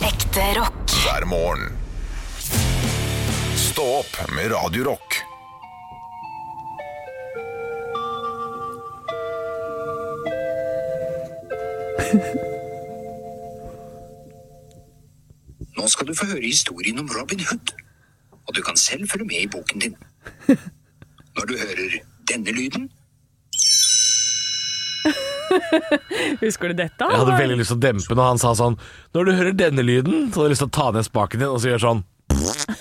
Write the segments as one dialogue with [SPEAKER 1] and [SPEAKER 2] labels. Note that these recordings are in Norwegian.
[SPEAKER 1] Ekte rock.
[SPEAKER 2] hver morgen. Stå opp med Radio Rock.
[SPEAKER 3] Nå skal du få høre historien om Robin Hood, og du kan selv følge med i boken din. Når du hører denne lyden,
[SPEAKER 4] Husker du dette?
[SPEAKER 5] Jeg hadde veldig lyst til å dempe når han sa sånn Når du hører denne lyden, så hadde jeg lyst til å ta ned spaken din og så gjøre sånn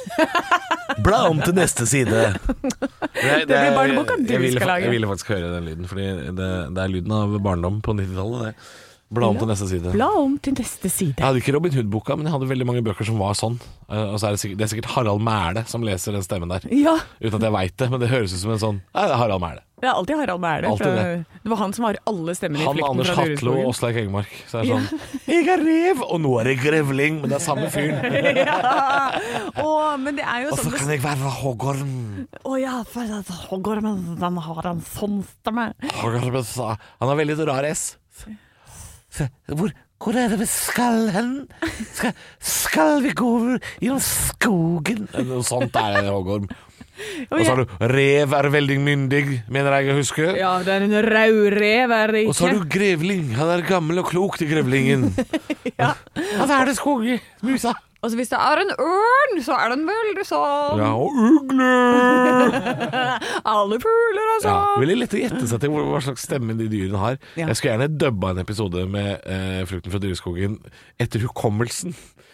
[SPEAKER 5] Bla om til neste side. det,
[SPEAKER 4] blir barneboka du
[SPEAKER 5] jeg ville
[SPEAKER 4] skal
[SPEAKER 5] fa-
[SPEAKER 4] lage.
[SPEAKER 5] Jeg ville faktisk høre den lyden, Fordi det, det er lyden av barndom på 90-tallet. det. Bla om til neste side.
[SPEAKER 4] Bla om til neste
[SPEAKER 5] Jeg
[SPEAKER 4] side.
[SPEAKER 5] hadde ikke Robin Hood-boka, men jeg hadde veldig mange bøker som var sånn. Eh, og så er det, sikkert, det er sikkert Harald Mæle som leser den stemmen der.
[SPEAKER 4] Ja,
[SPEAKER 5] Uten at jeg veit det, men det høres ut som en sånn Nei, det er Harald Mæle.
[SPEAKER 4] det er alltid Harald Mæhle.
[SPEAKER 5] Alltid
[SPEAKER 4] fra- Det var han som har alle stemmene i
[SPEAKER 5] Han,
[SPEAKER 4] Flukten
[SPEAKER 5] Anders
[SPEAKER 4] fra
[SPEAKER 5] Hatlo og
[SPEAKER 4] Lurusbogen.
[SPEAKER 5] Åsleik Engemark. Så det er sånn Jeg er rev, og nå er jeg grevling, men det er samme fyren.
[SPEAKER 4] Å, men det er jo
[SPEAKER 5] Og så
[SPEAKER 4] sånn
[SPEAKER 5] kan jeg være hoggorm.
[SPEAKER 4] Å ja, for at Hoggormen, den har en sånn stemme.
[SPEAKER 5] Hoggorm sa Han har veldig sånn rar S. Så, Hvor, hvor er det vi skal hen? Skal, skal vi gå over gjennom skogen? Noe sånt er det, hoggorm. Og så har du rev er veldig myndig, mener jeg å huske.
[SPEAKER 4] Ja, det er en raurev, er det
[SPEAKER 5] Og så har
[SPEAKER 4] ikke?
[SPEAKER 5] du grevling. Han er gammel og klok, til grevlingen. Og så er det skogmusa.
[SPEAKER 4] Og så hvis det er en ørn, så er den veldig sånn.
[SPEAKER 5] Ja, og ugle!
[SPEAKER 4] Alle fugler og
[SPEAKER 5] Ja,
[SPEAKER 4] sånn.
[SPEAKER 5] veldig lett å gjette seg til hvor- hva slags stemme de dyrene har.
[SPEAKER 4] Ja.
[SPEAKER 5] Jeg skulle gjerne dubba en episode med eh, Frukten fra dyreskogen etter hukommelsen.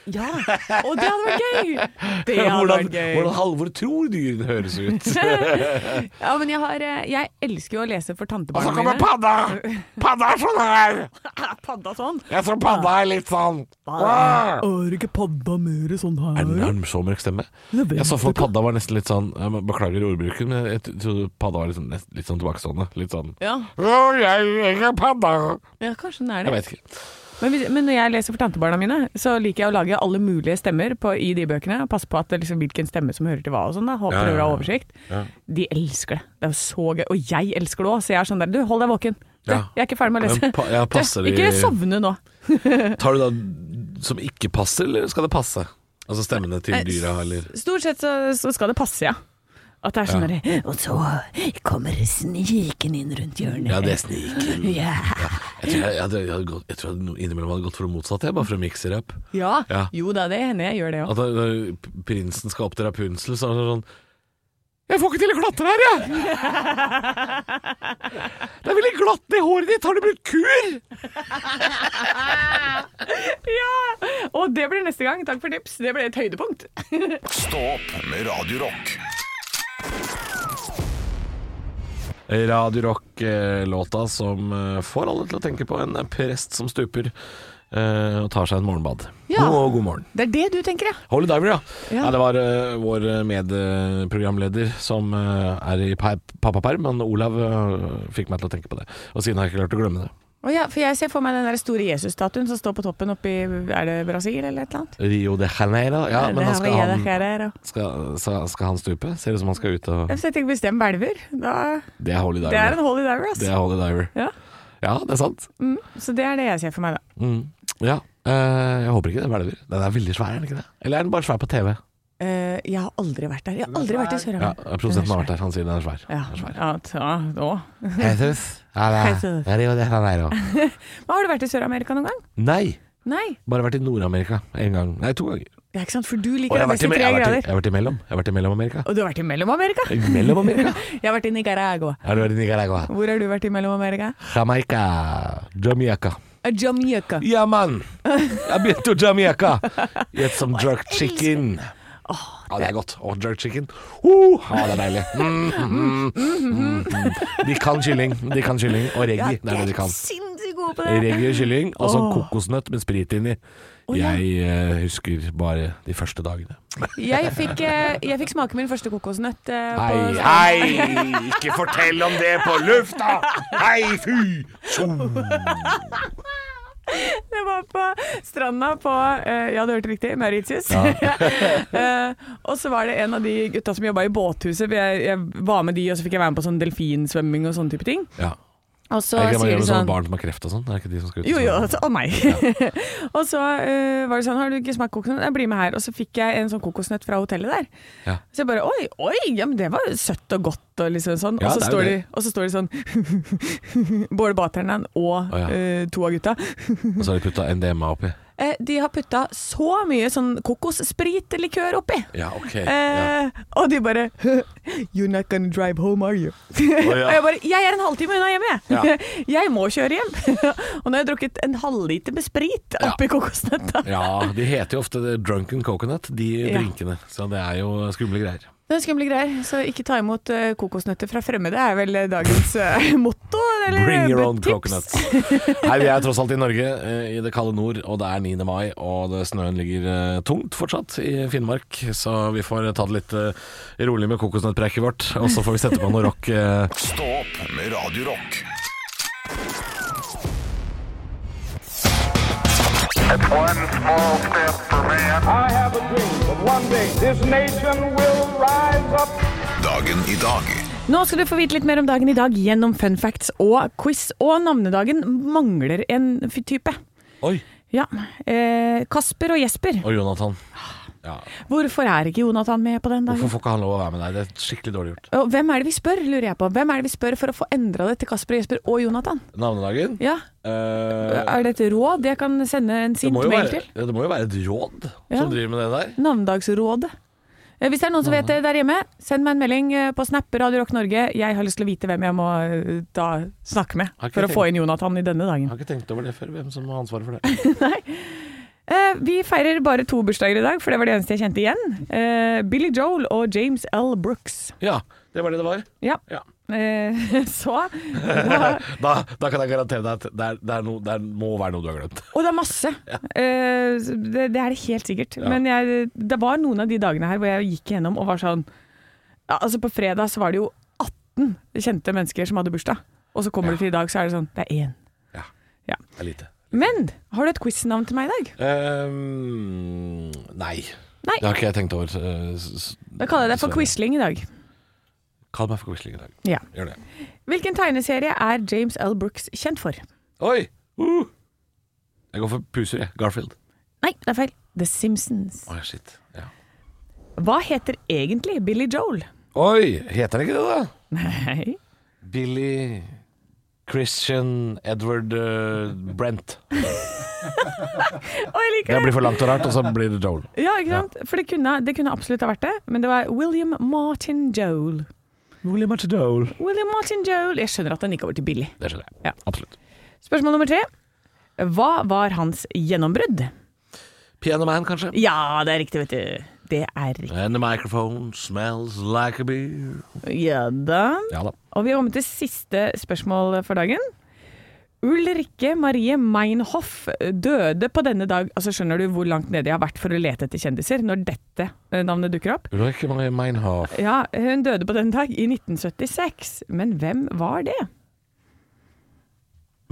[SPEAKER 4] Ja, og det hadde vært gøy. Det hadde
[SPEAKER 5] hvordan,
[SPEAKER 4] vært gøy.
[SPEAKER 5] hvordan Halvor tror dyrene høres ut.
[SPEAKER 4] Ja, men jeg, har, eh, jeg elsker jo å lese for
[SPEAKER 5] Og så
[SPEAKER 4] tantebarna
[SPEAKER 5] kommer
[SPEAKER 4] mine.
[SPEAKER 5] padda! Padda er sånn her!
[SPEAKER 4] Er padda sånn?
[SPEAKER 5] Jeg tror padda er litt sånn Åh!
[SPEAKER 4] Er ikke padda mer sånn
[SPEAKER 5] Er den
[SPEAKER 4] her?
[SPEAKER 5] er den så mørk stemme?
[SPEAKER 4] Jeg vet
[SPEAKER 5] Jeg så for meg padda var nesten litt sånn jeg må- Beklager ordbruken, men jeg trodde padda var litt sånn, nest- litt sånn tilbakestående. Litt sånn
[SPEAKER 4] Ja,
[SPEAKER 5] «Å, jeg, jeg er padda!
[SPEAKER 4] ja, kanskje den er
[SPEAKER 5] Jeg
[SPEAKER 4] det.
[SPEAKER 5] vet ikke.
[SPEAKER 4] Men, hvis, men når jeg leser for tantebarna mine, så liker jeg å lage alle mulige stemmer på, i de bøkene. og Passe på at det liksom, hvilken stemme som hører til hva og sånn. da. Håper
[SPEAKER 5] Ja, ja,
[SPEAKER 4] dere har
[SPEAKER 5] ja.
[SPEAKER 4] oversikt. De elsker det. Det er jo så gøy. Og jeg elsker det òg, så jeg er sånn der Du, hold deg våken. Du,
[SPEAKER 5] Ja.
[SPEAKER 4] Jeg er ikke ferdig med å lese.
[SPEAKER 5] Men pa- ja, passer
[SPEAKER 4] du,
[SPEAKER 5] de-
[SPEAKER 4] ikke sovne nå.
[SPEAKER 5] Tar du da som ikke passer, eller skal det passe? Altså stemmene til
[SPEAKER 4] Nei,
[SPEAKER 5] dyra, eller
[SPEAKER 4] Stort sett så, så skal det passe, ja. At det er sånn
[SPEAKER 5] Ja.
[SPEAKER 4] der, Og så kommer sniken inn rundt hjørnet.
[SPEAKER 5] Ja, det er sniken.
[SPEAKER 4] Ja.
[SPEAKER 5] Jeg tror jeg, jeg, hadde- jeg, hadde gått- jeg tror jeg hadde innimellom hadde gått for det motsatte, jeg, bare for å mikse det opp.
[SPEAKER 4] Ja.
[SPEAKER 5] Ja.
[SPEAKER 4] Jo da, det hender jeg gjør det òg.
[SPEAKER 5] At da- når prinsen skal opp til Rapunzel, så er det sånn Jeg får ikke til å klatre her, jeg! Det er veldig glatt ned i håret ditt, har du brukt kur?
[SPEAKER 4] Ja! Og det blir neste gang. Takk for tips. Det ble et høydepunkt.
[SPEAKER 2] Stå opp med Radio Rock.
[SPEAKER 5] Radio Rock-låta som eh, får alle til å tenke på en prest som stuper eh, og tar seg en morgenbad.
[SPEAKER 4] Ja.
[SPEAKER 5] God, god morgen.
[SPEAKER 4] Det er det du tenker, ja.
[SPEAKER 5] Holy Diver, ja.
[SPEAKER 4] Ja.
[SPEAKER 5] Nei, det var eh, vår medprogramleder som eh, er i pa- pappaperm, men Olav eh, fikk meg til å tenke på det. Og siden har jeg ikke klart å glemme det.
[SPEAKER 4] Å ja, for jeg ser for meg den der store Jesus-statuen som står på toppen oppe i Er det Brasil eller et eller annet?
[SPEAKER 5] Rio de Janeiro. Ja,
[SPEAKER 4] Det
[SPEAKER 5] men da
[SPEAKER 4] er
[SPEAKER 5] skal
[SPEAKER 4] Rio de
[SPEAKER 5] han,
[SPEAKER 4] Janeiro.
[SPEAKER 5] skal, sa- skal han stupe? Ser ut som han skal ut og
[SPEAKER 4] Jeg setter ikke bestemt elver. Da,
[SPEAKER 5] Det er Holy Diver.
[SPEAKER 4] det er en holy diver, ass.
[SPEAKER 5] Det er Holy Diver.
[SPEAKER 4] Ja.
[SPEAKER 5] Ja, det er sant.
[SPEAKER 4] Mm, så det er det jeg ser for meg, da.
[SPEAKER 5] Mm. Ja. Eh, jeg håper ikke det hvelver. Den er veldig svær, er den ikke det? Eller er den bare svær på TV?
[SPEAKER 4] Eh, jeg har aldri vært der. Jeg har aldri vært i
[SPEAKER 5] Ja,
[SPEAKER 4] Sør-Amerika.
[SPEAKER 5] Produsenten har vært der, han sier den er svær.
[SPEAKER 4] Ja,
[SPEAKER 5] Den er svær.
[SPEAKER 4] ja, ta, da.
[SPEAKER 5] Jesus. Ja, det
[SPEAKER 4] Jesus.
[SPEAKER 5] er Rio de Janeiro.
[SPEAKER 4] Men Har du vært i Sør-Amerika noen gang?
[SPEAKER 5] Nei,
[SPEAKER 4] Nei.
[SPEAKER 5] bare vært i Nord-Amerika én gang. Nei, to ganger.
[SPEAKER 4] Ja, ikke sant? For du
[SPEAKER 5] Og
[SPEAKER 4] liker
[SPEAKER 5] jeg har
[SPEAKER 4] det
[SPEAKER 5] vært i,
[SPEAKER 4] beste
[SPEAKER 5] jeg
[SPEAKER 4] tre
[SPEAKER 5] har vært i,
[SPEAKER 4] grader.
[SPEAKER 5] jeg har vært i mellom. Jeg har vært i Mellom-Amerika.
[SPEAKER 4] Og du har vært i Mellom-Amerika?
[SPEAKER 5] Mellom-Amerika?
[SPEAKER 4] Jeg har vært i Nicaragua.
[SPEAKER 5] Har du vært i Nicaragua?
[SPEAKER 4] Hvor har du vært i Mellom-Amerika?
[SPEAKER 5] Jamaica. Jamaica.
[SPEAKER 4] Eh, Jamaica.
[SPEAKER 5] Ja, mann! Jeg begynte å Jamaica. Gjett som jerk chicken. Ja, det er godt. Å, jerk chicken. Uh, ja, det er deilig. Mm, mm, mm, mm. De kan kylling. De kan kylling. Og reggae. Det er det de kan.
[SPEAKER 4] Sinnssykt gode på det!
[SPEAKER 5] Reggae og kylling, og så
[SPEAKER 4] Åh.
[SPEAKER 5] kokosnøtt med sprit inni.
[SPEAKER 4] ja.
[SPEAKER 5] Jeg eh, husker bare de første dagene.
[SPEAKER 4] Jeg fikk, eh, jeg fikk smake min første kokosnøtt eh, på
[SPEAKER 5] Hei, hei! Ikke fortell om det på lufta! Hei, fy! Tjo!
[SPEAKER 4] Det var på stranda på eh, Ja, du hørte riktig. Mauritius. Eh, og så var det en av de gutta som jobba i båthuset. for Jeg, jeg var med de, og så fikk jeg være med på sånn delfinsvømming og sånne type ting.
[SPEAKER 5] Ja.
[SPEAKER 4] Og så
[SPEAKER 5] Er det ikke det man
[SPEAKER 4] sier
[SPEAKER 5] gjør
[SPEAKER 4] de
[SPEAKER 5] med sånne
[SPEAKER 4] sånn
[SPEAKER 5] barn som har kreft og sånn? Er det ikke de som skal ut?
[SPEAKER 4] jo,
[SPEAKER 5] og
[SPEAKER 4] jo,
[SPEAKER 5] sånn?
[SPEAKER 4] altså, å nei. og så eh, var det sånn, har du ikke smakt kokosnøtt? Jeg blir med her. Og så fikk jeg en sånn kokosnøtt fra hotellet der.
[SPEAKER 5] Ja.
[SPEAKER 4] Så jeg bare, oi, oi, ja, men det var søtt og godt og liksom sånn.
[SPEAKER 5] Ja,
[SPEAKER 4] og, så
[SPEAKER 5] det er jo
[SPEAKER 4] står de,
[SPEAKER 5] det.
[SPEAKER 4] og så står de sånn, Bård Baternan og
[SPEAKER 5] Å, ja.
[SPEAKER 4] eh, to av gutta.
[SPEAKER 5] Og så har de putta NDMA oppi.
[SPEAKER 4] Eh, de har putta så mye sånn kokosspritellikør oppi.
[SPEAKER 5] Ja, ok. Ja.
[SPEAKER 4] Eh, og de bare You're not gonna drive home, are you? og jeg bare Jeg er en halvtime unna hjemme, jeg. jeg må kjøre hjem. og nå har jeg drukket en halvliter med sprit oppi kokosnøtta.
[SPEAKER 5] Ja, de heter jo ofte The Drunken Coconut, de
[SPEAKER 4] Ja.
[SPEAKER 5] drinkene. Så det er jo skumle greier.
[SPEAKER 4] Det er skumle greier, så ikke ta imot eh, kokosnøtter fra fremmede er vel eh, dagens eh, motto. Eller
[SPEAKER 5] Bring your
[SPEAKER 4] eh,
[SPEAKER 5] own
[SPEAKER 4] tips.
[SPEAKER 5] coconuts. Nei, vi er tross alt i Norge, eh, i det kalde nord, og det er 9. mai, og det, snøen ligger eh, tungt fortsatt i Finnmark, så vi får ta det litt eh, rolig med kokosnøttpreiket vårt, og så får vi sette på noe rock. eh.
[SPEAKER 2] Stå opp med Radio Rock.
[SPEAKER 1] It's one small step for man.
[SPEAKER 6] I have a dream that one day this nation will rise up.
[SPEAKER 2] Dagen i dag.
[SPEAKER 4] Nå skal du få vite litt mer om dagen i dag gjennom fun facts og quiz. Og navnedagen mangler en f- type.
[SPEAKER 5] Oi,
[SPEAKER 4] Ja. Eh, Kasper og Jesper.
[SPEAKER 5] og Jonathan. Ja,
[SPEAKER 4] Hvorfor er ikke Jonathan med på den dagen?
[SPEAKER 5] hvorfor får ikke han lov å være med deg? Det er skikkelig dårlig gjort.
[SPEAKER 4] Og hvem er det vi spør, lurer jeg på. Hvem er det vi spør for å få endra det til Kasper og Jesper og Jonathan?
[SPEAKER 5] Navnedagen?
[SPEAKER 4] Ja,
[SPEAKER 5] Eh,
[SPEAKER 4] Er det et råd jeg kan sende en
[SPEAKER 5] det,
[SPEAKER 4] sint
[SPEAKER 5] må jo
[SPEAKER 4] mail
[SPEAKER 5] være,
[SPEAKER 4] til?
[SPEAKER 5] ja, det må jo være et råd
[SPEAKER 4] Ja.
[SPEAKER 5] som driver med det der.
[SPEAKER 4] Navnedagsrådet. Eh, Hvis det er noen som vet det der hjemme, send meg en melding eh, på Snap Radio Rock Norge. Jeg har lyst til å vite hvem jeg må eh, da snakke med
[SPEAKER 5] Har ikke
[SPEAKER 4] for å
[SPEAKER 5] tenkt-
[SPEAKER 4] få inn Jonathan i denne dagen.
[SPEAKER 5] Jeg har ikke tenkt over det før, hvem som har ansvaret for det.
[SPEAKER 4] Eh, vi feirer bare to bursdager i dag, for det var det eneste jeg kjente igjen. Eh, Billy Joel og James L. Brooks.
[SPEAKER 5] Ja, det var det det var.
[SPEAKER 4] Ja.
[SPEAKER 5] Ja.
[SPEAKER 4] Eh, så da,
[SPEAKER 5] Da, da kan jeg garantere deg at det, er, det, er no, det er, må være noe du har glemt.
[SPEAKER 4] Og det er masse. Eh, det, det er det helt sikkert. Men jeg, det var noen av de dagene her hvor jeg gikk gjennom og var sånn ja, Altså På fredag så var det jo 18 kjente mennesker som hadde bursdag. Og så kommer du til i dag, så er det sånn Det er én.
[SPEAKER 5] Ja.
[SPEAKER 4] Ja.
[SPEAKER 5] Det er lite.
[SPEAKER 4] Men har du et quiznavn til meg i dag?
[SPEAKER 5] Ehm, nei.
[SPEAKER 4] Nei.
[SPEAKER 5] Det har ikke jeg tenkt over. eh, s- s-
[SPEAKER 4] Da kaller jeg deg for
[SPEAKER 5] dessverre.
[SPEAKER 4] Quisling i dag.
[SPEAKER 5] Kall meg for Quisling i dag.
[SPEAKER 4] Ja.
[SPEAKER 5] Gjør det.
[SPEAKER 4] Hvilken tegneserie er James L. Brooks kjent for?
[SPEAKER 5] Oi! Uh! Jeg går for puser, jeg. Garfield.
[SPEAKER 4] Nei, det er feil. The Simpsons.
[SPEAKER 5] Oi, shit. Ja.
[SPEAKER 4] Hva heter egentlig Billy Joel?
[SPEAKER 5] Oi! Heter det ikke det, da?
[SPEAKER 4] Nei.
[SPEAKER 5] Billy Christian Edward eh, Brent.
[SPEAKER 4] Å, jeg liker
[SPEAKER 5] Det blir for langt og rart, og så blir det Joel.
[SPEAKER 4] Ja, ikke sant? For det kunne, det kunne absolutt ha vært det, men det var William Martin Joel.
[SPEAKER 5] Mulig match Joel.
[SPEAKER 4] William Martin Joel. Jeg skjønner at han gikk over til Billy.
[SPEAKER 5] Det skjønner jeg.
[SPEAKER 4] Ja.
[SPEAKER 5] Absolutt.
[SPEAKER 4] Spørsmål nummer tre. Hva var hans gjennombrudd?
[SPEAKER 5] Piano Man, kanskje?
[SPEAKER 4] Ja, det er riktig, vet du. Det er riktig.
[SPEAKER 5] And the microphone smells like a beer.
[SPEAKER 4] Ja da.
[SPEAKER 5] Ja da.
[SPEAKER 4] Og vi har kommet til siste spørsmål for dagen. Ulrikke Marie Meinhoff døde på denne dag Altså Skjønner du hvor langt nede jeg har vært for å lete etter kjendiser når dette eh, navnet dukker opp?
[SPEAKER 5] Ulrikke Marie Meinhof.
[SPEAKER 4] Ja, Hun døde på denne dag i 1976, men hvem var det?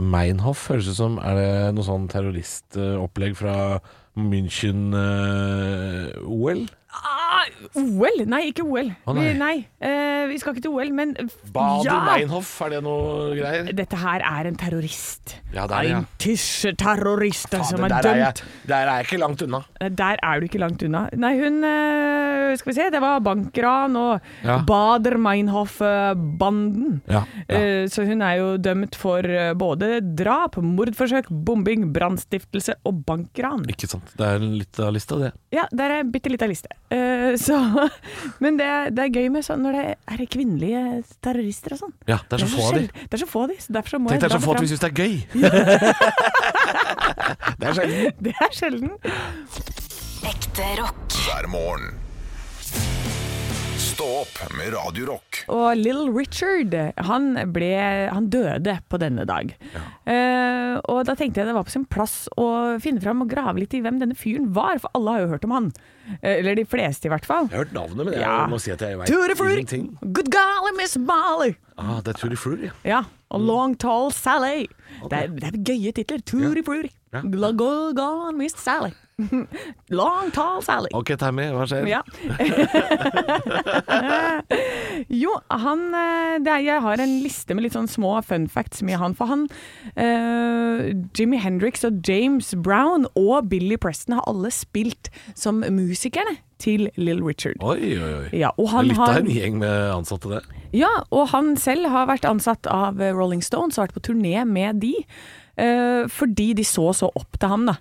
[SPEAKER 5] Meinhof høres ut som Er det noe sånn terroristopplegg fra eh, München-OL?
[SPEAKER 4] Ah, OL? Nei, ikke OL.
[SPEAKER 5] Å, nei.
[SPEAKER 4] Vi, nei. eh, vi skal ikke til OL, men
[SPEAKER 5] Bader
[SPEAKER 4] ja!
[SPEAKER 5] Meinhof, er det noe greier?
[SPEAKER 4] Dette her er en terrorist.
[SPEAKER 5] Ja, det er det, ja.
[SPEAKER 4] En tysserterrorist som er
[SPEAKER 5] der, er
[SPEAKER 4] dømt. Eh,
[SPEAKER 5] jeg, der er jeg ikke langt unna.
[SPEAKER 4] Der er du ikke langt unna. Nei, hun eh, Skal vi se, det var bankran og
[SPEAKER 5] Ja.
[SPEAKER 4] Bader Meinhof-banden.
[SPEAKER 5] Ja, ja.
[SPEAKER 4] Eh, Så hun er jo dømt for eh, både drap, mordforsøk, bombing, brannstiftelse og bankran.
[SPEAKER 5] Ikke sant. Det er litt av lista, det.
[SPEAKER 4] Ja, der er en bitte lita liste. Eh, så, men det, er- det er gøy med sånn når det er kvinnelige terrorister og sånn.
[SPEAKER 5] Ja, det er så få av de.
[SPEAKER 4] sjeld- Det er så få av de, så derfor så må
[SPEAKER 5] Tenk
[SPEAKER 4] jeg
[SPEAKER 5] det er
[SPEAKER 4] dra
[SPEAKER 5] så få at
[SPEAKER 4] fram.
[SPEAKER 5] vi syns det er gøy. det er sjelden.
[SPEAKER 4] Det er sjelden.
[SPEAKER 7] Ekte rock.
[SPEAKER 2] Hver morgen. Stå opp med Radio Rock.
[SPEAKER 4] Og Little Richard, han, ble, han døde på denne dag. Eh, og da tenkte jeg det var på sin plass å finne fram og grave litt i hvem denne fyren var, for alle har jo hørt om han. Eh, eller de fleste i hvert fall.
[SPEAKER 5] Jeg har hørt navnet, men jeg
[SPEAKER 4] Ja.
[SPEAKER 5] må si at jeg vet
[SPEAKER 4] Tutti frutti,
[SPEAKER 5] ingenting.
[SPEAKER 4] good golly, Miss Molly!
[SPEAKER 5] Ah, det er Tutti Frutti. ja.
[SPEAKER 4] Ja, og
[SPEAKER 5] Mm.
[SPEAKER 4] Long Tall Sally. Det, er, det er gøye titler. Tutti frutti,
[SPEAKER 5] Ja.
[SPEAKER 4] Go- go- gone Miss Sally. Long tall Sally.
[SPEAKER 5] Ok, Tammy, hva skjer?
[SPEAKER 4] Ja. jo, han eh, det er, Jeg har en liste med litt sånn små fun facts med han. For han eh, Jimmy Hendrix og James Brown og Billy Preston har alle spilt som musikerne til Lill Richard.
[SPEAKER 5] Oi, oi, oi.
[SPEAKER 4] Ja, og han
[SPEAKER 5] Litt av
[SPEAKER 4] har-
[SPEAKER 5] en gjeng med ansatte, det.
[SPEAKER 4] Ja, og han selv har vært ansatt av eh, Rolling Stones og vært på turné med de, eh, fordi de så så opp til ham, da.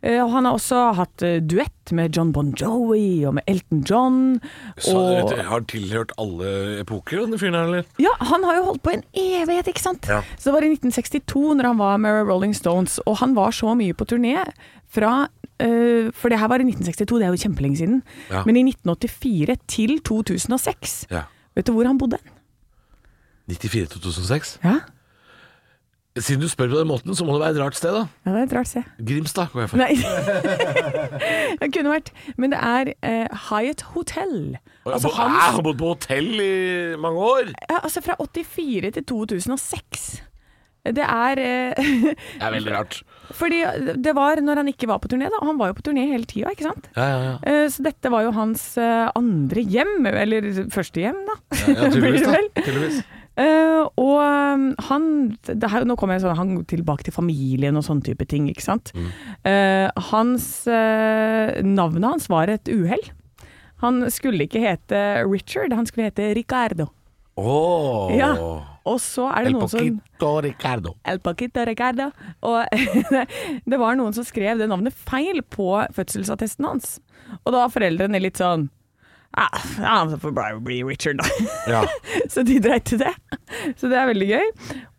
[SPEAKER 4] Eh, og han har også hatt eh, duett med John Bon Jovi og med Elton John.
[SPEAKER 5] Så
[SPEAKER 4] og,
[SPEAKER 5] det har tilhørt alle epoker, den fyren her, eller?
[SPEAKER 4] ja, han har jo holdt på en evighet, ikke sant? Så det var i 1962 når han var med Rolling Stones, og han var så mye på turné fra eh, For det her var i 1962, det er jo kjempelenge siden.
[SPEAKER 5] Ja.
[SPEAKER 4] Men i 1984 til 2006.
[SPEAKER 5] Ja.
[SPEAKER 4] Vet du hvor han bodde?
[SPEAKER 5] 94-2006.
[SPEAKER 4] Ja,
[SPEAKER 5] Siden du spør på den måten, så må det være et rart sted, da.
[SPEAKER 4] ja det er et rart sted.
[SPEAKER 5] Grimstad, går jeg for.
[SPEAKER 4] Nei. det kunne vært. Men det er eh, Hyatt Hotel.
[SPEAKER 5] Og
[SPEAKER 4] Altså,
[SPEAKER 5] jeg har bo- Jeg
[SPEAKER 4] hans,
[SPEAKER 5] har bodd på hotell i mange år!
[SPEAKER 4] ja, altså fra 84 til 2006. Det er eh,
[SPEAKER 5] Det er veldig rart.
[SPEAKER 4] Fordi det var når han ikke var på turné, da. Og han var jo på turné hele tida, ikke sant?
[SPEAKER 5] Ja, ja, ja.
[SPEAKER 4] Eh, Så dette var jo hans eh, andre hjem, eller første hjem, da.
[SPEAKER 5] ja
[SPEAKER 4] Blir
[SPEAKER 5] tydeligvis,
[SPEAKER 4] det vel?
[SPEAKER 5] da. Tydeligvis.
[SPEAKER 4] Eh, og eh, han det her, Nå kommer jeg sånn han går tilbake til familien og sånne type ting, ikke sant. Eh, hans eh, Navnet hans var et uhell. Han skulle ikke hete Richard, han skulle hete Ricardo.
[SPEAKER 5] Åh
[SPEAKER 4] Ja. Og så er det
[SPEAKER 5] El
[SPEAKER 4] noen som
[SPEAKER 5] poquito Ricardo.
[SPEAKER 4] El Paquito Ricardo. Og det var noen som skrev det navnet feil på fødselsattesten hans. Og da var foreldrene litt sånn Ah, ja, så får det bare bli Richard, da.
[SPEAKER 5] Ja.
[SPEAKER 4] Så de dreit til det. Så det er veldig gøy.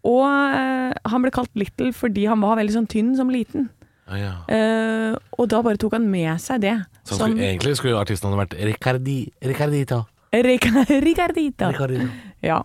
[SPEAKER 4] Og eh, han ble kalt Little fordi han var veldig sånn tynn som liten.
[SPEAKER 5] Ja, Ah, ja.
[SPEAKER 4] Eh, og da bare tok han med seg det.
[SPEAKER 5] Så han skulle, egentlig skulle jo artisten ha vært Ricardi, Ricardito.
[SPEAKER 4] Rica- Ricardita.
[SPEAKER 5] Ricardito.
[SPEAKER 4] Ja.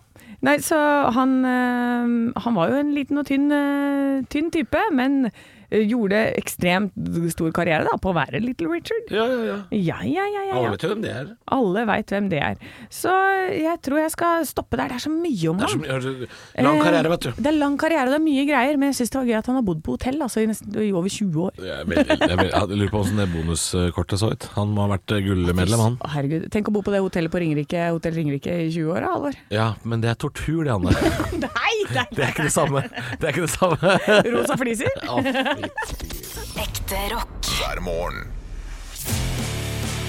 [SPEAKER 4] Nei, så han eh, Han var jo en liten og tynn, eh, tynn type, men eh, gjorde ekstremt stor karriere da på å være Little Richard.
[SPEAKER 5] Ja, ja, ja.
[SPEAKER 4] Ja, ja, ja. ja,
[SPEAKER 5] Alle
[SPEAKER 4] ja.
[SPEAKER 5] vet jo hvem det er.
[SPEAKER 4] Alle veit hvem det er. Så eh, jeg tror jeg skal stoppe der. Det er så mye om
[SPEAKER 5] Det er
[SPEAKER 4] ham.
[SPEAKER 5] så mye-
[SPEAKER 4] Eh,
[SPEAKER 5] lang karriere, vet du.
[SPEAKER 4] Det er lang karriere, det er mye greier, men jeg syns det var gøy at han har bodd på hotell altså, i, nesten, i over 20 år.
[SPEAKER 5] Jeg, er veldig- jeg, er veldig- jeg lurer på hvordan det bonuskortet så ut. Han må ha vært eh, gullmedlem, han.
[SPEAKER 4] Å, herregud, Tenk å bo på det hotellet på Ringerike Hotell Ringerike i 20 år, da, Halvor.
[SPEAKER 5] Ja, men det er tortur, det, Anne.
[SPEAKER 4] Nei! Det
[SPEAKER 5] Det er ikke det samme. Det er ikke det samme.
[SPEAKER 4] er rosa fliser.
[SPEAKER 7] Ekte rock.
[SPEAKER 2] hver morgen.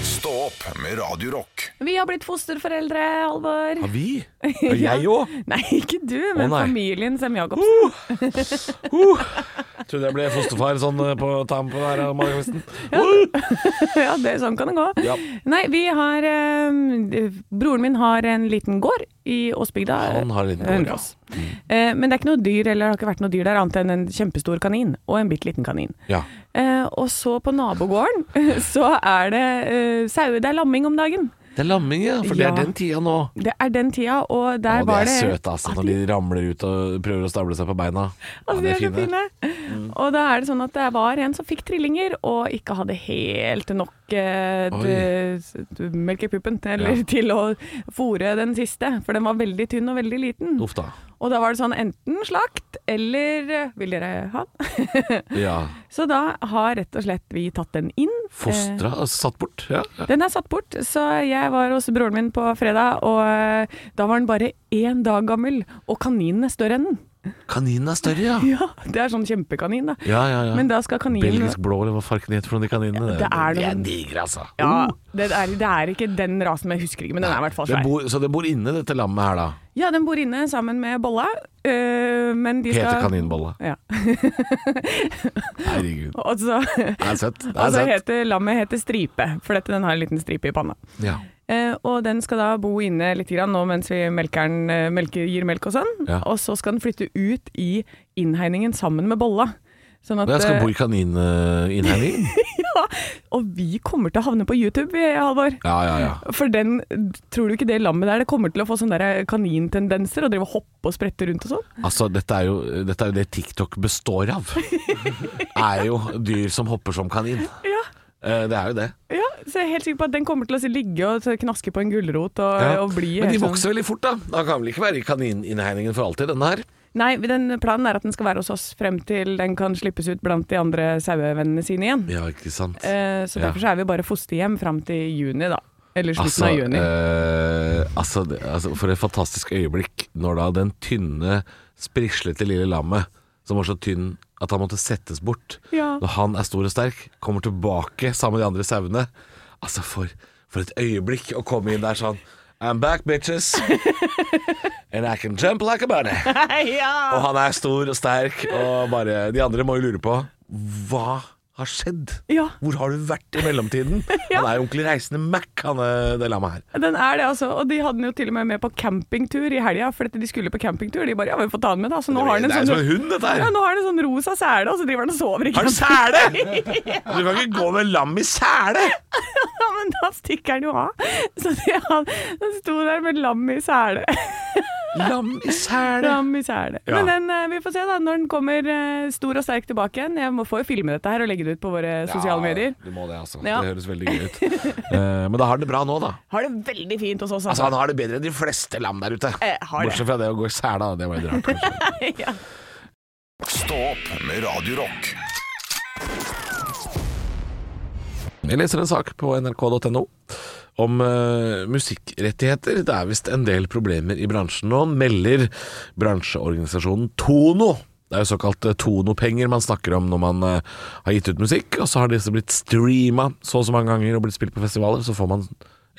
[SPEAKER 2] Stå opp med Radio Rock.
[SPEAKER 4] Vi har blitt fosterforeldre, Halvor.
[SPEAKER 5] Har vi? Og jeg òg?
[SPEAKER 4] Nei, ikke du, men
[SPEAKER 5] nei. Uh!
[SPEAKER 4] familien Sem-Jacobsen.
[SPEAKER 5] Trodde jeg ble fosterfar sånn eh, på tampen her. av morgenkvisten.
[SPEAKER 4] ja, det, sånn kan det gå.
[SPEAKER 5] Ja.
[SPEAKER 4] Nei, vi har eh, Broren min har en liten gård i Åsbygda.
[SPEAKER 5] Han har en liten gård, ja. Mm.
[SPEAKER 4] Hønefoss. Eh, men det er ikke noe dyr, eller det har ikke vært noe dyr der, annet enn en kjempestor kanin og en bitte liten kanin.
[SPEAKER 5] Ja.
[SPEAKER 4] Eh, og så på nabogården så er det uh, sauer. Det er lamming om dagen.
[SPEAKER 5] Det er lamming, ja. For det
[SPEAKER 4] Ja.
[SPEAKER 5] er den tida nå.
[SPEAKER 4] Det er den tida, og der
[SPEAKER 5] Og de
[SPEAKER 4] var
[SPEAKER 5] er
[SPEAKER 4] det
[SPEAKER 5] søte, altså, når de ramler ut og prøver å stable seg på beina. Ja,
[SPEAKER 4] Altså, de er så fine.
[SPEAKER 5] Mm.
[SPEAKER 4] Og da er det sånn at det var en som fikk trillinger, og ikke hadde helt nok eh,
[SPEAKER 5] Oi.
[SPEAKER 4] d- melk i puppen eller,
[SPEAKER 5] Ja.
[SPEAKER 4] til å fòre den siste, for den var veldig tynn og veldig liten.
[SPEAKER 5] Uff da.
[SPEAKER 4] Og da var det sånn enten slakt eller eh, Vil dere ha den?
[SPEAKER 5] Ja.
[SPEAKER 4] så da har rett og slett vi tatt den inn. Eh,
[SPEAKER 5] Fostra altså, satt bort. Ja. ja.
[SPEAKER 4] Den er satt bort, så jeg var hos broren min på fredag, og eh, da var den bare én dag gammel, og kaninen er større enn den.
[SPEAKER 5] Kaninen er større, ja.
[SPEAKER 4] Ja, det er sånn kjempekanin, da.
[SPEAKER 5] Ja, ja, ja.
[SPEAKER 4] Men da skal kaninen
[SPEAKER 5] Belgisk blå, eller hva farken heter for noen av de kaninene.
[SPEAKER 4] det er
[SPEAKER 5] de er
[SPEAKER 4] noe-
[SPEAKER 5] digre, altså.
[SPEAKER 4] Ja,
[SPEAKER 5] Oh.
[SPEAKER 4] det er, det er ikke den rasen, men jeg husker ikke, men den er i hvert fall
[SPEAKER 5] Det
[SPEAKER 4] svær.
[SPEAKER 5] bor, så det bor inne, dette lammet her, da.
[SPEAKER 4] Ja, den bor inne sammen med bolla, øh, men de
[SPEAKER 5] Heter
[SPEAKER 4] skal
[SPEAKER 5] kaninbolla.
[SPEAKER 4] Ja.
[SPEAKER 5] Herregud.
[SPEAKER 4] Og så,
[SPEAKER 5] Det er søtt. Det
[SPEAKER 4] og
[SPEAKER 5] er
[SPEAKER 4] så
[SPEAKER 5] søtt.
[SPEAKER 4] heter lammet heter Stripe, for dette, den har en liten stripe i panna.
[SPEAKER 5] Ja.
[SPEAKER 4] Eh, og den skal da bo inne litt grann nå mens vi melker den, eh, melker, gir melk og sånn.
[SPEAKER 5] Ja.
[SPEAKER 4] Og så skal den flytte ut i innhegningen sammen med bolla. Sånn at,
[SPEAKER 5] Men jeg skal
[SPEAKER 4] eh,
[SPEAKER 5] bo i eh, kanininnhegning.
[SPEAKER 4] ja, og vi kommer til å havne på YouTube, vi, Halvor.
[SPEAKER 5] Ja, ja, ja.
[SPEAKER 4] For den, tror du ikke det lammet der, det kommer til å få sånne der eh, kanintendenser og drive og hoppe og sprette rundt og sånn?
[SPEAKER 5] Altså, dette er, jo, dette er jo det TikTok består av. er jo dyr som hopper som kanin.
[SPEAKER 4] Ja.
[SPEAKER 5] Eh, Det er jo det.
[SPEAKER 4] Ja, så jeg er helt sikker på at den kommer til å ligge og knaske på en gulrot og, og bli
[SPEAKER 5] Men de
[SPEAKER 4] helt sånn-
[SPEAKER 5] vokser veldig fort, da. Da kan vel ikke være i kanininnhegningen for alltid, denne her.
[SPEAKER 4] Nei, den planen er at den skal være hos oss frem til den kan slippes ut blant de andre sauevennene sine igjen.
[SPEAKER 5] Ja, ikke sant?
[SPEAKER 4] Eh, så
[SPEAKER 5] Ja. Altså,
[SPEAKER 4] derfor så er vi bare fosterhjem frem til juni, da. Eller slutten av juni.
[SPEAKER 5] eh, altså, det- altså, for et fantastisk øyeblikk når da den tynne, sprislete lille lammet, som var så tynn at han måtte settes bort,
[SPEAKER 4] Ja.
[SPEAKER 5] når han er stor og sterk, kommer tilbake sammen med de andre sauene. Altså, for, for et øyeblikk å komme inn der sånn I'm back, bitches. And I can jump like a bunny. Og han er stor og sterk, og bare De andre må jo lure på hva har skjedd?
[SPEAKER 4] Ja.
[SPEAKER 5] Hvor har du vært i mellomtiden? Han er jo ordentlig reisende Mac, han eh, det lammet her.
[SPEAKER 4] Den er det, altså. Og de hadde den jo til og med med på campingtur i helga, for dette de skulle på campingtur. De bare ja, vi får ta den med, da. Så nå har den
[SPEAKER 5] det er
[SPEAKER 4] en
[SPEAKER 5] som en
[SPEAKER 4] sånn
[SPEAKER 5] hund, dette her.
[SPEAKER 4] ja, nå har den en sånn rosa sele, og så driver den og sover i
[SPEAKER 5] Har du
[SPEAKER 4] camping.
[SPEAKER 5] sele? Du kan ikke gå med lam i sele!
[SPEAKER 4] Ja, men da stikker den jo av. Så de, han, den sto der med lam i sele.
[SPEAKER 5] Lam i sele.
[SPEAKER 4] Lam i sele.
[SPEAKER 5] Ja.
[SPEAKER 4] Men den, eh, vi får se da, når den kommer eh, stor og sterk tilbake igjen. Jeg må få jo filme dette her og legge det ut på våre sosiale medier.
[SPEAKER 5] Ja, du må det, altså.
[SPEAKER 4] Ja.
[SPEAKER 5] Det høres veldig gøy ut. Eh, men da har han det bra nå, da.
[SPEAKER 4] Har det veldig fint hos oss,
[SPEAKER 5] Altså,
[SPEAKER 4] altså.
[SPEAKER 5] han har det bedre enn de fleste lam der ute.
[SPEAKER 4] Eh, har det.
[SPEAKER 5] Bortsett fra det å gå i sele, da. det var litt rart. kanskje.
[SPEAKER 4] ja.
[SPEAKER 2] Stå opp med Radio Rock.
[SPEAKER 5] Jeg leser en sak på nrk.no om eh, musikkrettigheter. Det er visst en del problemer i bransjen nå, melder bransjeorganisasjonen Tono. Det er jo såkalt eh, Tono-penger man snakker om når man eh, har gitt ut musikk, og så har disse blitt streama så og så mange ganger og blitt spilt på festivaler, så får man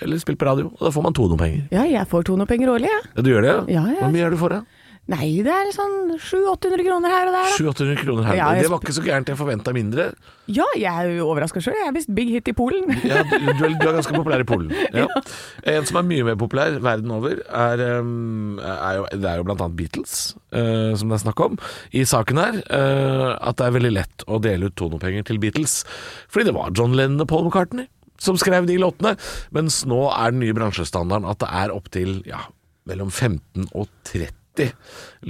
[SPEAKER 5] eller spilt på radio, og da får man Tono-penger.
[SPEAKER 4] ja, jeg får Tono-penger årlig, jeg.
[SPEAKER 5] Ja, du gjør det?
[SPEAKER 4] Ja, ja.
[SPEAKER 5] Hvor mye er du for det?
[SPEAKER 4] Nei, det er sånn 700-800 kroner her og der, da.
[SPEAKER 5] 700-800 kroner her.
[SPEAKER 4] Ja, jeg
[SPEAKER 5] det var ikke så gærent, jeg forventa mindre.
[SPEAKER 4] Ja, jeg er jo overraska sjøl. Jeg er visst big hit i Polen.
[SPEAKER 5] Ja, du, du, er, du er ganske populær i Polen. Ja. En som er mye mer populær verden over, er, um, er jo, det er jo blant annet Beatles, eh, som det er snakk om i saken her. eh, at det er veldig lett å dele ut tonopenger til Beatles. Fordi det var John Lennon og Paul McCartney som skrev de låtene. Mens nå er den nye bransjestandarden at det er opptil ja, mellom 15 og 30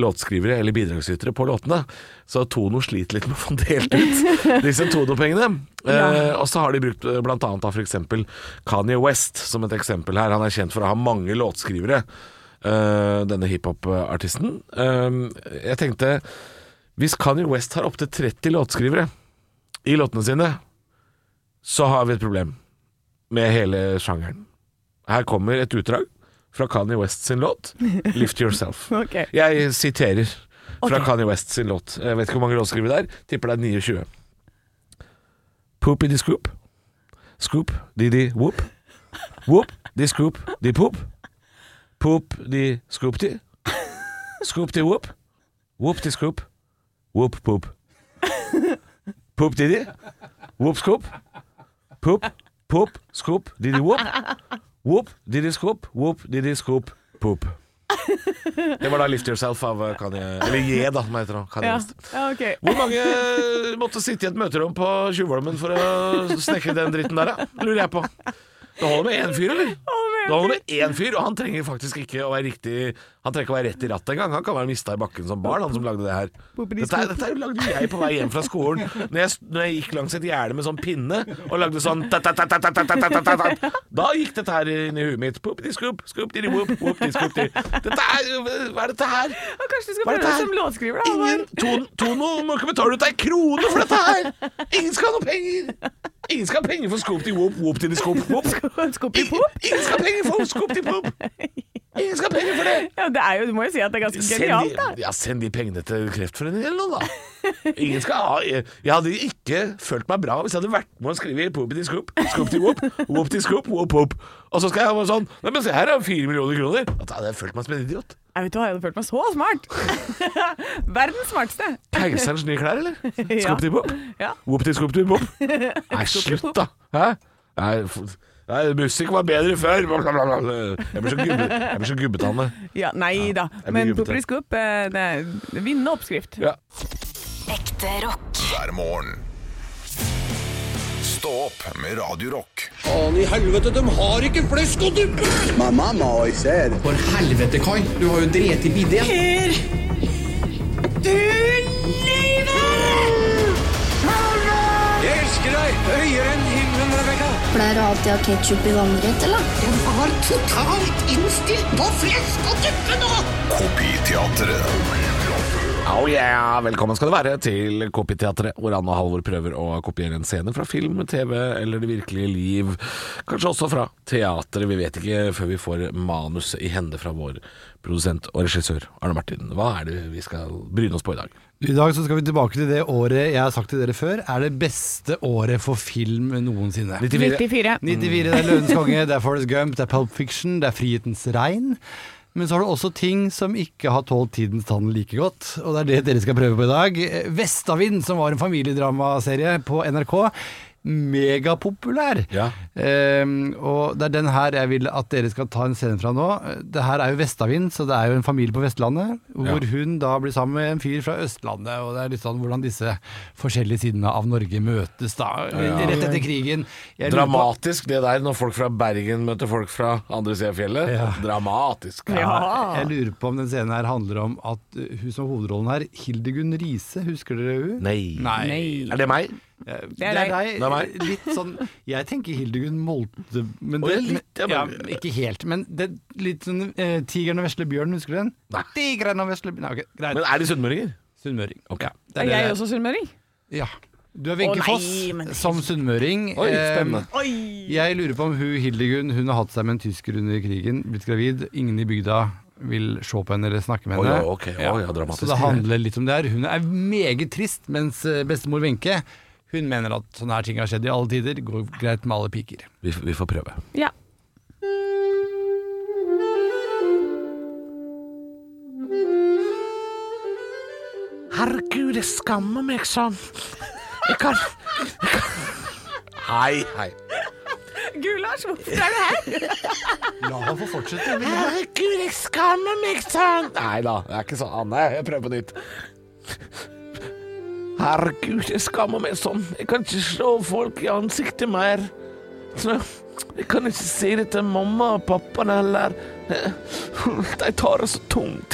[SPEAKER 5] låtskrivere eller bidragsytere på låtene. Så Tono sliter litt med å få delt ut disse Tono-pengene. Eh, og så har de brukt eh, blant annet da for eksempel Kanye West som et eksempel her. Han er kjent for å ha mange låtskrivere, eh, denne hiphop-artisten. Eh, jeg tenkte, hvis Kanye West har opptil 30 låtskrivere i låtene sine, så har vi et problem med hele sjangeren. Her kommer et utdrag fra Kanye West sin låt 'Lift Yourself'.
[SPEAKER 4] Ok.
[SPEAKER 5] Jeg siterer fra
[SPEAKER 4] Ok.
[SPEAKER 5] Kanye West sin låt. Jeg vet ikke hvor mange låtskrivere det er. Tipper det er 29. Poop i the scoop. Scoop di di whoop. Whoop di scoop di poop. Poop di scoop di. Scoop di whoop. Whoop di scoop. Whoop poop. Poop di di. Whoop scoop. Poop. Poop. Scoop di di whoop. Whoop di di scoop. Whoop di di scoop. Poop. Det var da 'Lift Yourself' av eh, Kanye Eller Ye, da, som heter han. Kanye
[SPEAKER 4] Ja,
[SPEAKER 5] West.
[SPEAKER 4] ja ok.
[SPEAKER 5] Hvor mange måtte sitte i et møterom på Tjuvholmen for å snekre den dritten der, da? Lurer jeg på. Det holder med én fyr, eller? Det holder med én fyr, og han trenger faktisk ikke å være riktig Han trenger ikke å være rett i rattet engang. Han kan være mista i bakken som barn, han som lagde det her. Dette, er- dette er jo lagde jeg på vei hjem fra skolen når jeg, når jeg gikk langs et gjerde med sånn pinne og lagde sånn ta, ta, ta, ta, ta, ta, ta, ta, ta, ta. Da gikk dette her inn i huet mitt. Poopity scoop, scoop diddy whoop, whoopity scoop diddy. Dette er jo- Hva er dette her?
[SPEAKER 4] Ja, Kanskje du skal
[SPEAKER 5] Hva
[SPEAKER 4] prøve
[SPEAKER 5] er dette
[SPEAKER 4] deg
[SPEAKER 5] her?
[SPEAKER 4] som låtskriver, da.
[SPEAKER 5] Ingen, Ton- Tono må ikke betale ut ei krone for dette her! Ingen skal ha noe penger! Ingen skal ha penger for Scoop til Whoop, Whoop til Scoop, Whoop.
[SPEAKER 4] En skopp i
[SPEAKER 5] Ingen,
[SPEAKER 4] pop?
[SPEAKER 5] ingen skal ha penger for Scoop til Whoop! Ingen skal ha penger for det!
[SPEAKER 4] Ja, det er jo, du må jo si at det er ganske
[SPEAKER 5] Send
[SPEAKER 4] genialt,
[SPEAKER 5] de,
[SPEAKER 4] da.
[SPEAKER 5] ja, send de pengene til Kreftforeningen eller noe, da. Ingen skal ha Jeg jeg hadde ikke følt meg bra hvis jeg hadde vært med å skrive Poop til Scoop, Scoop til Whoop, Whoop til Scoop, Whoop, Whoop. Og så skal jeg ha sånn Nei, men se her, er fire millioner kroner. Da hadde jeg følt meg som en idiot.
[SPEAKER 4] Jeg vet du hva, jeg hadde følt meg så smart. Verdens smarteste.
[SPEAKER 5] Keiserens nye klær, eller?
[SPEAKER 4] Ja.
[SPEAKER 5] Scoop til Whoop.
[SPEAKER 4] Ja.
[SPEAKER 5] Whoopty-scoopty-bop. Nei, slutt, da. Hæ? Nei, f- Nei, musikk var bedre før. Blablabla. Jeg blir så, gubbe, jeg blir så gubbetanne.
[SPEAKER 4] ja nei da.
[SPEAKER 5] blir
[SPEAKER 4] Men
[SPEAKER 5] gubbete.
[SPEAKER 4] Poppelis Coop, eh, det er en vinnende oppskrift.
[SPEAKER 5] Ja.
[SPEAKER 7] Ekte rock.
[SPEAKER 2] hver morgen. Stå opp med Radio Rock.
[SPEAKER 8] Faen i helvete, de har ikke flesk og duppe! My mama always said. For helvete, Kai. Du har jo drept i bidé. Jeg elsker deg høyere enn himmelen, Rebekka.
[SPEAKER 9] Pleier du alltid å ha ketsjup i vannrett, eller?
[SPEAKER 8] De var totalt innstilt på flesk og duppe nå!
[SPEAKER 2] Kopiteatret.
[SPEAKER 5] Oh yeah! Velkommen skal du være til Kopiteatret, hvor Anne og Halvor prøver å kopiere en scene fra film, TV eller det virkelige liv. Kanskje også fra teatret, vi vet ikke før vi får manus i hende fra vår produsent og regissør Arne Martin. Hva er det vi skal bryne oss på i dag?
[SPEAKER 10] I dag så skal vi tilbake til det året jeg har sagt til dere før, er det beste året for film noensinne.
[SPEAKER 4] 94.
[SPEAKER 10] 94, Mm. det er Løvens konge, det er Forrest Gump, det er Pulp Fiction, det er Frihetens regn. Men så har du også ting som ikke har tålt tidens tann like godt, og det er det dere skal prøve på i dag. Vestavind, som var en familiedramaserie på NRK. Megapopulær.
[SPEAKER 5] Ja.
[SPEAKER 10] Ehm, og det er den her jeg vil at dere skal ta en scene fra nå. Det her er jo Vestavind, så det er jo en familie på Vestlandet, hvor hun da blir sammen med en fyr fra Østlandet, og det er litt sånn hvordan disse forskjellige sidene av Norge møtes da, rett etter krigen. Jeg lurer på-
[SPEAKER 5] Dramatisk det der når folk fra Bergen møter folk fra andre siden av fjellet.
[SPEAKER 10] Ja.
[SPEAKER 5] Dramatisk.
[SPEAKER 4] Ah.
[SPEAKER 10] Ja. Jeg lurer på om den scenen her handler om at uh, hun som har hovedrollen her, Hildegunn Riise, husker dere hun?
[SPEAKER 5] Nei.
[SPEAKER 10] Nei.
[SPEAKER 5] Er det meg?
[SPEAKER 10] Det er
[SPEAKER 4] deg.
[SPEAKER 10] deg.
[SPEAKER 5] Det er meg.
[SPEAKER 10] Litt sånn Jeg tenker Hildegunn Molte men
[SPEAKER 5] Å,
[SPEAKER 10] det,
[SPEAKER 5] ja, litt, ja,
[SPEAKER 10] ja,
[SPEAKER 5] men-
[SPEAKER 10] Ikke helt, men det, er litt sånn eh, Tigeren og vesle bjørnen, husker du den?
[SPEAKER 5] Nei.
[SPEAKER 10] Tigeren og vesle bjørnen Nei, ok, greit.
[SPEAKER 5] Men er de sunnmøringer?
[SPEAKER 10] Sunnmøring.
[SPEAKER 5] Ok.
[SPEAKER 10] Ja, det
[SPEAKER 4] Er
[SPEAKER 10] det
[SPEAKER 4] jeg
[SPEAKER 10] der.
[SPEAKER 4] også sunnmøring?
[SPEAKER 10] Ja. Du er
[SPEAKER 4] Å,
[SPEAKER 10] Wenche
[SPEAKER 4] nei,
[SPEAKER 10] Foss
[SPEAKER 4] men det-
[SPEAKER 10] som sunnmøring.
[SPEAKER 5] Oi, spennende.
[SPEAKER 10] Eh, Jeg lurer på om hun Hildegunn Hun har hatt seg med en tysker under krigen, blitt gravid. Ingen i bygda vil se på henne eller snakke med
[SPEAKER 5] Oi,
[SPEAKER 10] henne.
[SPEAKER 5] oi, ok. Oi, ja, dramatisk.
[SPEAKER 10] Så det handler litt om det her. Hun er meget trist, mens eh, bestemor Wenche hun mener at sånne her ting har skjedd i alle tider, går greit med alle piker.
[SPEAKER 5] Vi, vi får prøve.
[SPEAKER 4] Ja.
[SPEAKER 5] Herregud, jeg skammer meg sånn. Jeg kan, jeg kan. Hei, hei.
[SPEAKER 4] Gulasj, hvorfor er du her?
[SPEAKER 10] La henne få fortsette.
[SPEAKER 5] Herregud, jeg skammer meg sånn. Nei da, det er ikke sånn. Anne, jeg prøver på nytt. Herregud, jeg skammer meg sånn. Jeg kan ikke slå folk i ansiktet mer. Så jeg kan ikke si det til mamma og pappaen heller. De tar det så tungt.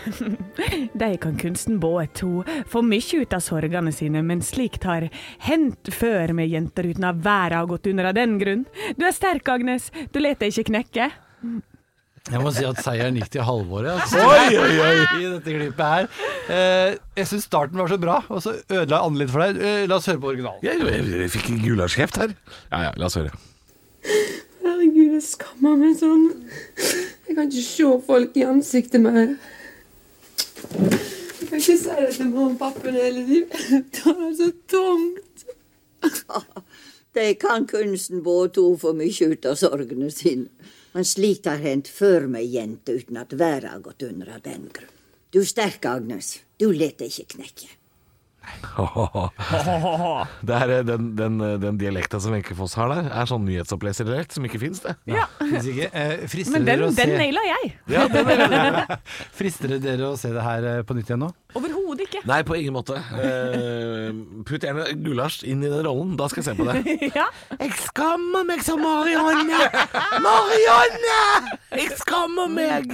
[SPEAKER 4] De kan kunsten både to, få mykje ut av sorgene sine, men slikt har hendt før med jenter uten at verden har gått under av den grunn. Du er sterk, Agnes, du lar deg ikke knekke.
[SPEAKER 10] Jeg må si at seieren gikk til halvåret altså,
[SPEAKER 5] Oi, oi, oi.
[SPEAKER 10] i dette klippet her. Eh, jeg syns starten var så bra, og så ødela jeg litt for deg. Eh, la oss høre på originalen.
[SPEAKER 5] Jeg, jeg, jeg fikk gulasjkjeft her. Ja, ja, la oss høre.
[SPEAKER 11] Herregud, jeg skammer meg sånn. Jeg kan ikke se folk i ansiktet mer. Jeg kan ikke si det til mamma og pappa hele tiden. Det er så tungt.
[SPEAKER 12] De kan kunsten både to for mye ut av sorgene sine. Men slikt har hendt før med jenter uten at verden har gått under av den grunn. Du er sterk, Agnes. Du lar deg ikke knekke.
[SPEAKER 5] Det er eh, den, den, den dialekta som Wenche Foss har der, er sånn nyhetsoppleserdialekt som ikke fins, det.
[SPEAKER 4] Ja.
[SPEAKER 10] Synes ikke. Eh, frister
[SPEAKER 4] Men den,
[SPEAKER 10] dere å
[SPEAKER 4] den
[SPEAKER 10] se-
[SPEAKER 4] naila jeg.
[SPEAKER 10] Frister det dere å se det her eh, på nytt igjen nå?
[SPEAKER 4] Overhodet ikke.
[SPEAKER 5] Nei, på ingen måte. Eh, putt gjerne gulasj inn i den rollen, da skal jeg se på det.
[SPEAKER 4] Ja.
[SPEAKER 5] Jeg skammer meg som Marianne! Marianne! Jeg skammer meg!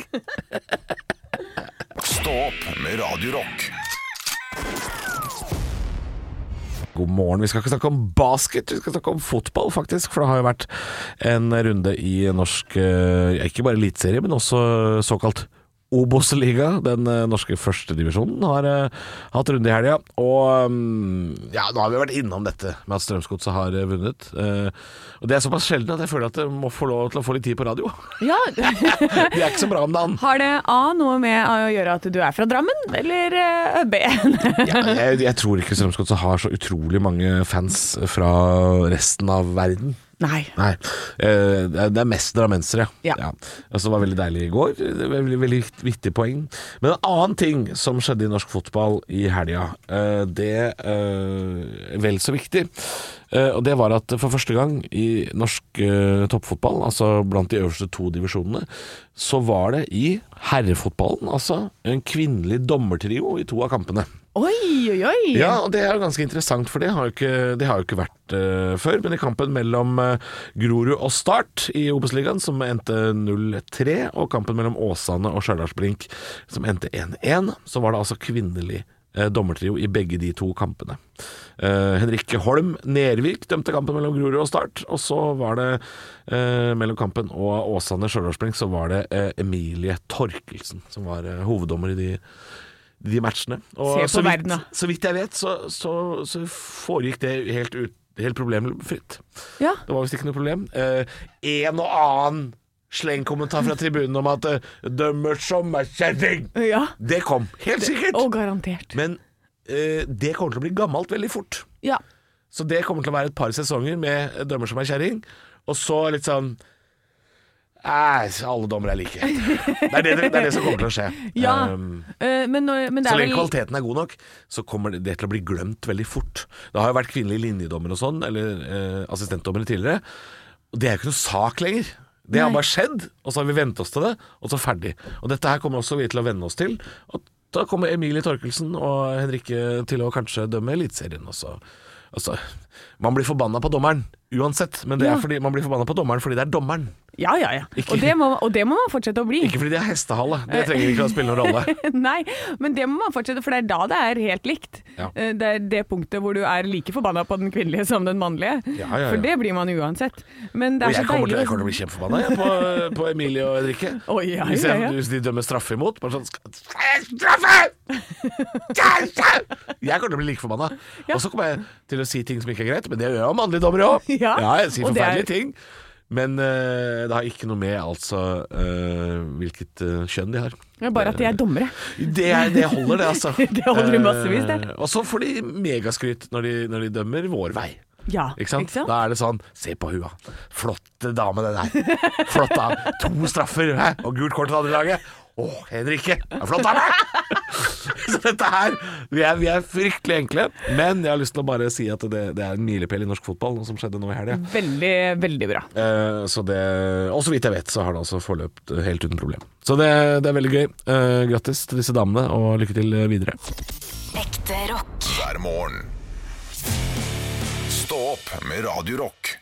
[SPEAKER 2] Stå opp med Radio Rock.
[SPEAKER 5] God morgen. Vi skal ikke snakke om basket, vi skal snakke om fotball, faktisk. For det har jo vært en runde i norsk eh, Ikke bare eliteserie, men også såkalt Obos-liga, den eh, norske førstedivisjonen, har eh, hatt runde i helga. Og mm, ja, nå har vi vært innom dette med at Strømsgodset har eh, vunnet. Eh, og det er såpass sjelden at jeg føler at jeg må få lov til å få litt tid på radio.
[SPEAKER 4] ja.
[SPEAKER 5] Vi er ikke så bra om dagen.
[SPEAKER 4] Har det A noe med å gjøre at du er fra Drammen, eller eh, B?
[SPEAKER 5] Ja, jeg, jeg tror ikke Strømsgodset har så utrolig mange fans fra resten av verden.
[SPEAKER 4] Nei.
[SPEAKER 5] Nei. eh, Det er- det er mest drammensere,
[SPEAKER 4] Ja.
[SPEAKER 5] Altså, det var veldig deilig i går. Det var Veldig, veldig vikt- viktig poeng. Men en annen ting som skjedde i norsk fotball i helga, eh, det eh, er vel så viktig. Eh, Og det var at for første gang i norsk eh, toppfotball, altså blant de øverste to divisjonene, så var det i herrefotballen, altså, en kvinnelig dommertrio i to av kampene.
[SPEAKER 4] Oi, oi, oi.
[SPEAKER 5] Ja, og det er jo ganske interessant, for det har jo ikke, det har jo ikke vært eh, før. Men i kampen mellom eh, Grorud og Start i Obos-ligaen, som endte 0-3, og kampen mellom Åsane og Stjørdals-Blink, som endte 1-1, så var det altså kvinnelig eh, dommertrio i begge de to kampene. Eh, Henrikke Holm Nervik dømte kampen mellom Grorud og Start, og så var det eh, mellom kampen og Åsane Stjørdals-Blink, så var det eh, Emilie Torkelsen som var eh, hoveddommer i de de matchene.
[SPEAKER 4] Se på
[SPEAKER 5] så, vidt,
[SPEAKER 4] verden, da.
[SPEAKER 5] så vidt jeg vet, så, så, så foregikk det helt, ut, helt problemfritt.
[SPEAKER 4] Ja.
[SPEAKER 5] Det var visst ikke noe problem. Eh, en og annen slengkommentar fra tribunen om at eh, 'dømmer som ei kjerring',
[SPEAKER 4] Ja.
[SPEAKER 5] det kom. Helt sikkert.
[SPEAKER 4] Og garantert.
[SPEAKER 5] Men eh, det kommer til å bli gammelt veldig fort.
[SPEAKER 4] Ja.
[SPEAKER 5] Så det kommer til å være et par sesonger med eh, dømmer som er kjerring, og så litt sånn Nei, alle dommere er like. Det er det, det er det som kommer til å skje.
[SPEAKER 4] Ja,
[SPEAKER 5] Um,
[SPEAKER 4] eh, men, når, men det
[SPEAKER 5] så
[SPEAKER 4] er
[SPEAKER 5] lenge
[SPEAKER 4] vel
[SPEAKER 5] kvaliteten er god nok, så kommer det- det til å bli glemt veldig fort. Det har jo vært kvinnelige linjedommere og sånn, eller eh, assistentdommere tidligere. Og det er jo ikke noe sak lenger. Det har
[SPEAKER 2] Nei.
[SPEAKER 5] bare skjedd, og så har vi vent oss til det, og så ferdig. Og dette her kommer også vi til å venne oss til. Og da kommer Emilie Torkelsen og Henrikke til å kanskje dømme Eliteserien også. Altså, man blir forbanna på dommeren uansett, men det
[SPEAKER 4] Ja.
[SPEAKER 5] er fordi man blir forbanna på dommeren fordi det er dommeren.
[SPEAKER 4] Ja, ja, ja. Og det, må, og det må man fortsette å bli.
[SPEAKER 5] Ikke fordi det er hestehale. Det
[SPEAKER 4] Eh.
[SPEAKER 5] trenger ikke å spille noen rolle.
[SPEAKER 4] Nei, men det må man fortsette, for det er da det er helt likt.
[SPEAKER 5] Ja.
[SPEAKER 4] Eh, Det er det punktet hvor du er like forbanna på den kvinnelige som den mannlige.
[SPEAKER 5] Ja, ja, ja.
[SPEAKER 4] For det blir man uansett. Men det er
[SPEAKER 5] Og jeg
[SPEAKER 4] så deilig
[SPEAKER 5] kommer, til,
[SPEAKER 4] liksom.
[SPEAKER 5] jeg kommer til å bli kjempeforbanna jeg, på, eh, på Emilie og Henrikke.
[SPEAKER 4] Å, ja,
[SPEAKER 5] hvis,
[SPEAKER 4] ja,
[SPEAKER 5] jeg,
[SPEAKER 4] ja.
[SPEAKER 5] hvis de dømmer straffe imot. Bare sånn "Skal- Straffe! Straffe!" Jeg kommer til å bli like forbanna. Og så kommer jeg til å si ting som ikke er greit, men det gjør jeg om mannlige dommere òg.
[SPEAKER 2] Ja,
[SPEAKER 5] jeg sier
[SPEAKER 2] og det er-
[SPEAKER 5] forferdelige ting. Men eh, det har ikke noe med altså eh, hvilket eh, kjønn de har.
[SPEAKER 4] Det er Bare at de er dommere.
[SPEAKER 5] Det, er, det holder, det, altså.
[SPEAKER 4] Det holder i massevis, det.
[SPEAKER 5] Eh, Og så får de megaskryt når de, når de dømmer vår vei.
[SPEAKER 4] Ja,
[SPEAKER 5] Ikke sant? Da er det sånn Se på hua. Flott dame, det der. Flott dame. To straffer hæ? og gult kort til det andre laget. Å, Henrikke. Det er Flott dame! Så dette her vi er, vi er fryktelig enkle, men jeg har lyst til å bare si at det, det er en milepæl i norsk fotball, noe som skjedde nå i helga.
[SPEAKER 4] Veldig, veldig bra.
[SPEAKER 5] Eh, så det, og så vidt jeg vet, så har det altså forløpt eh, helt uten problem. Så det, det er veldig gøy. Eh, grattis til disse damene, og lykke til eh, videre.
[SPEAKER 7] Ekte rock.
[SPEAKER 2] hver morgen. Stå opp med Radio Rock.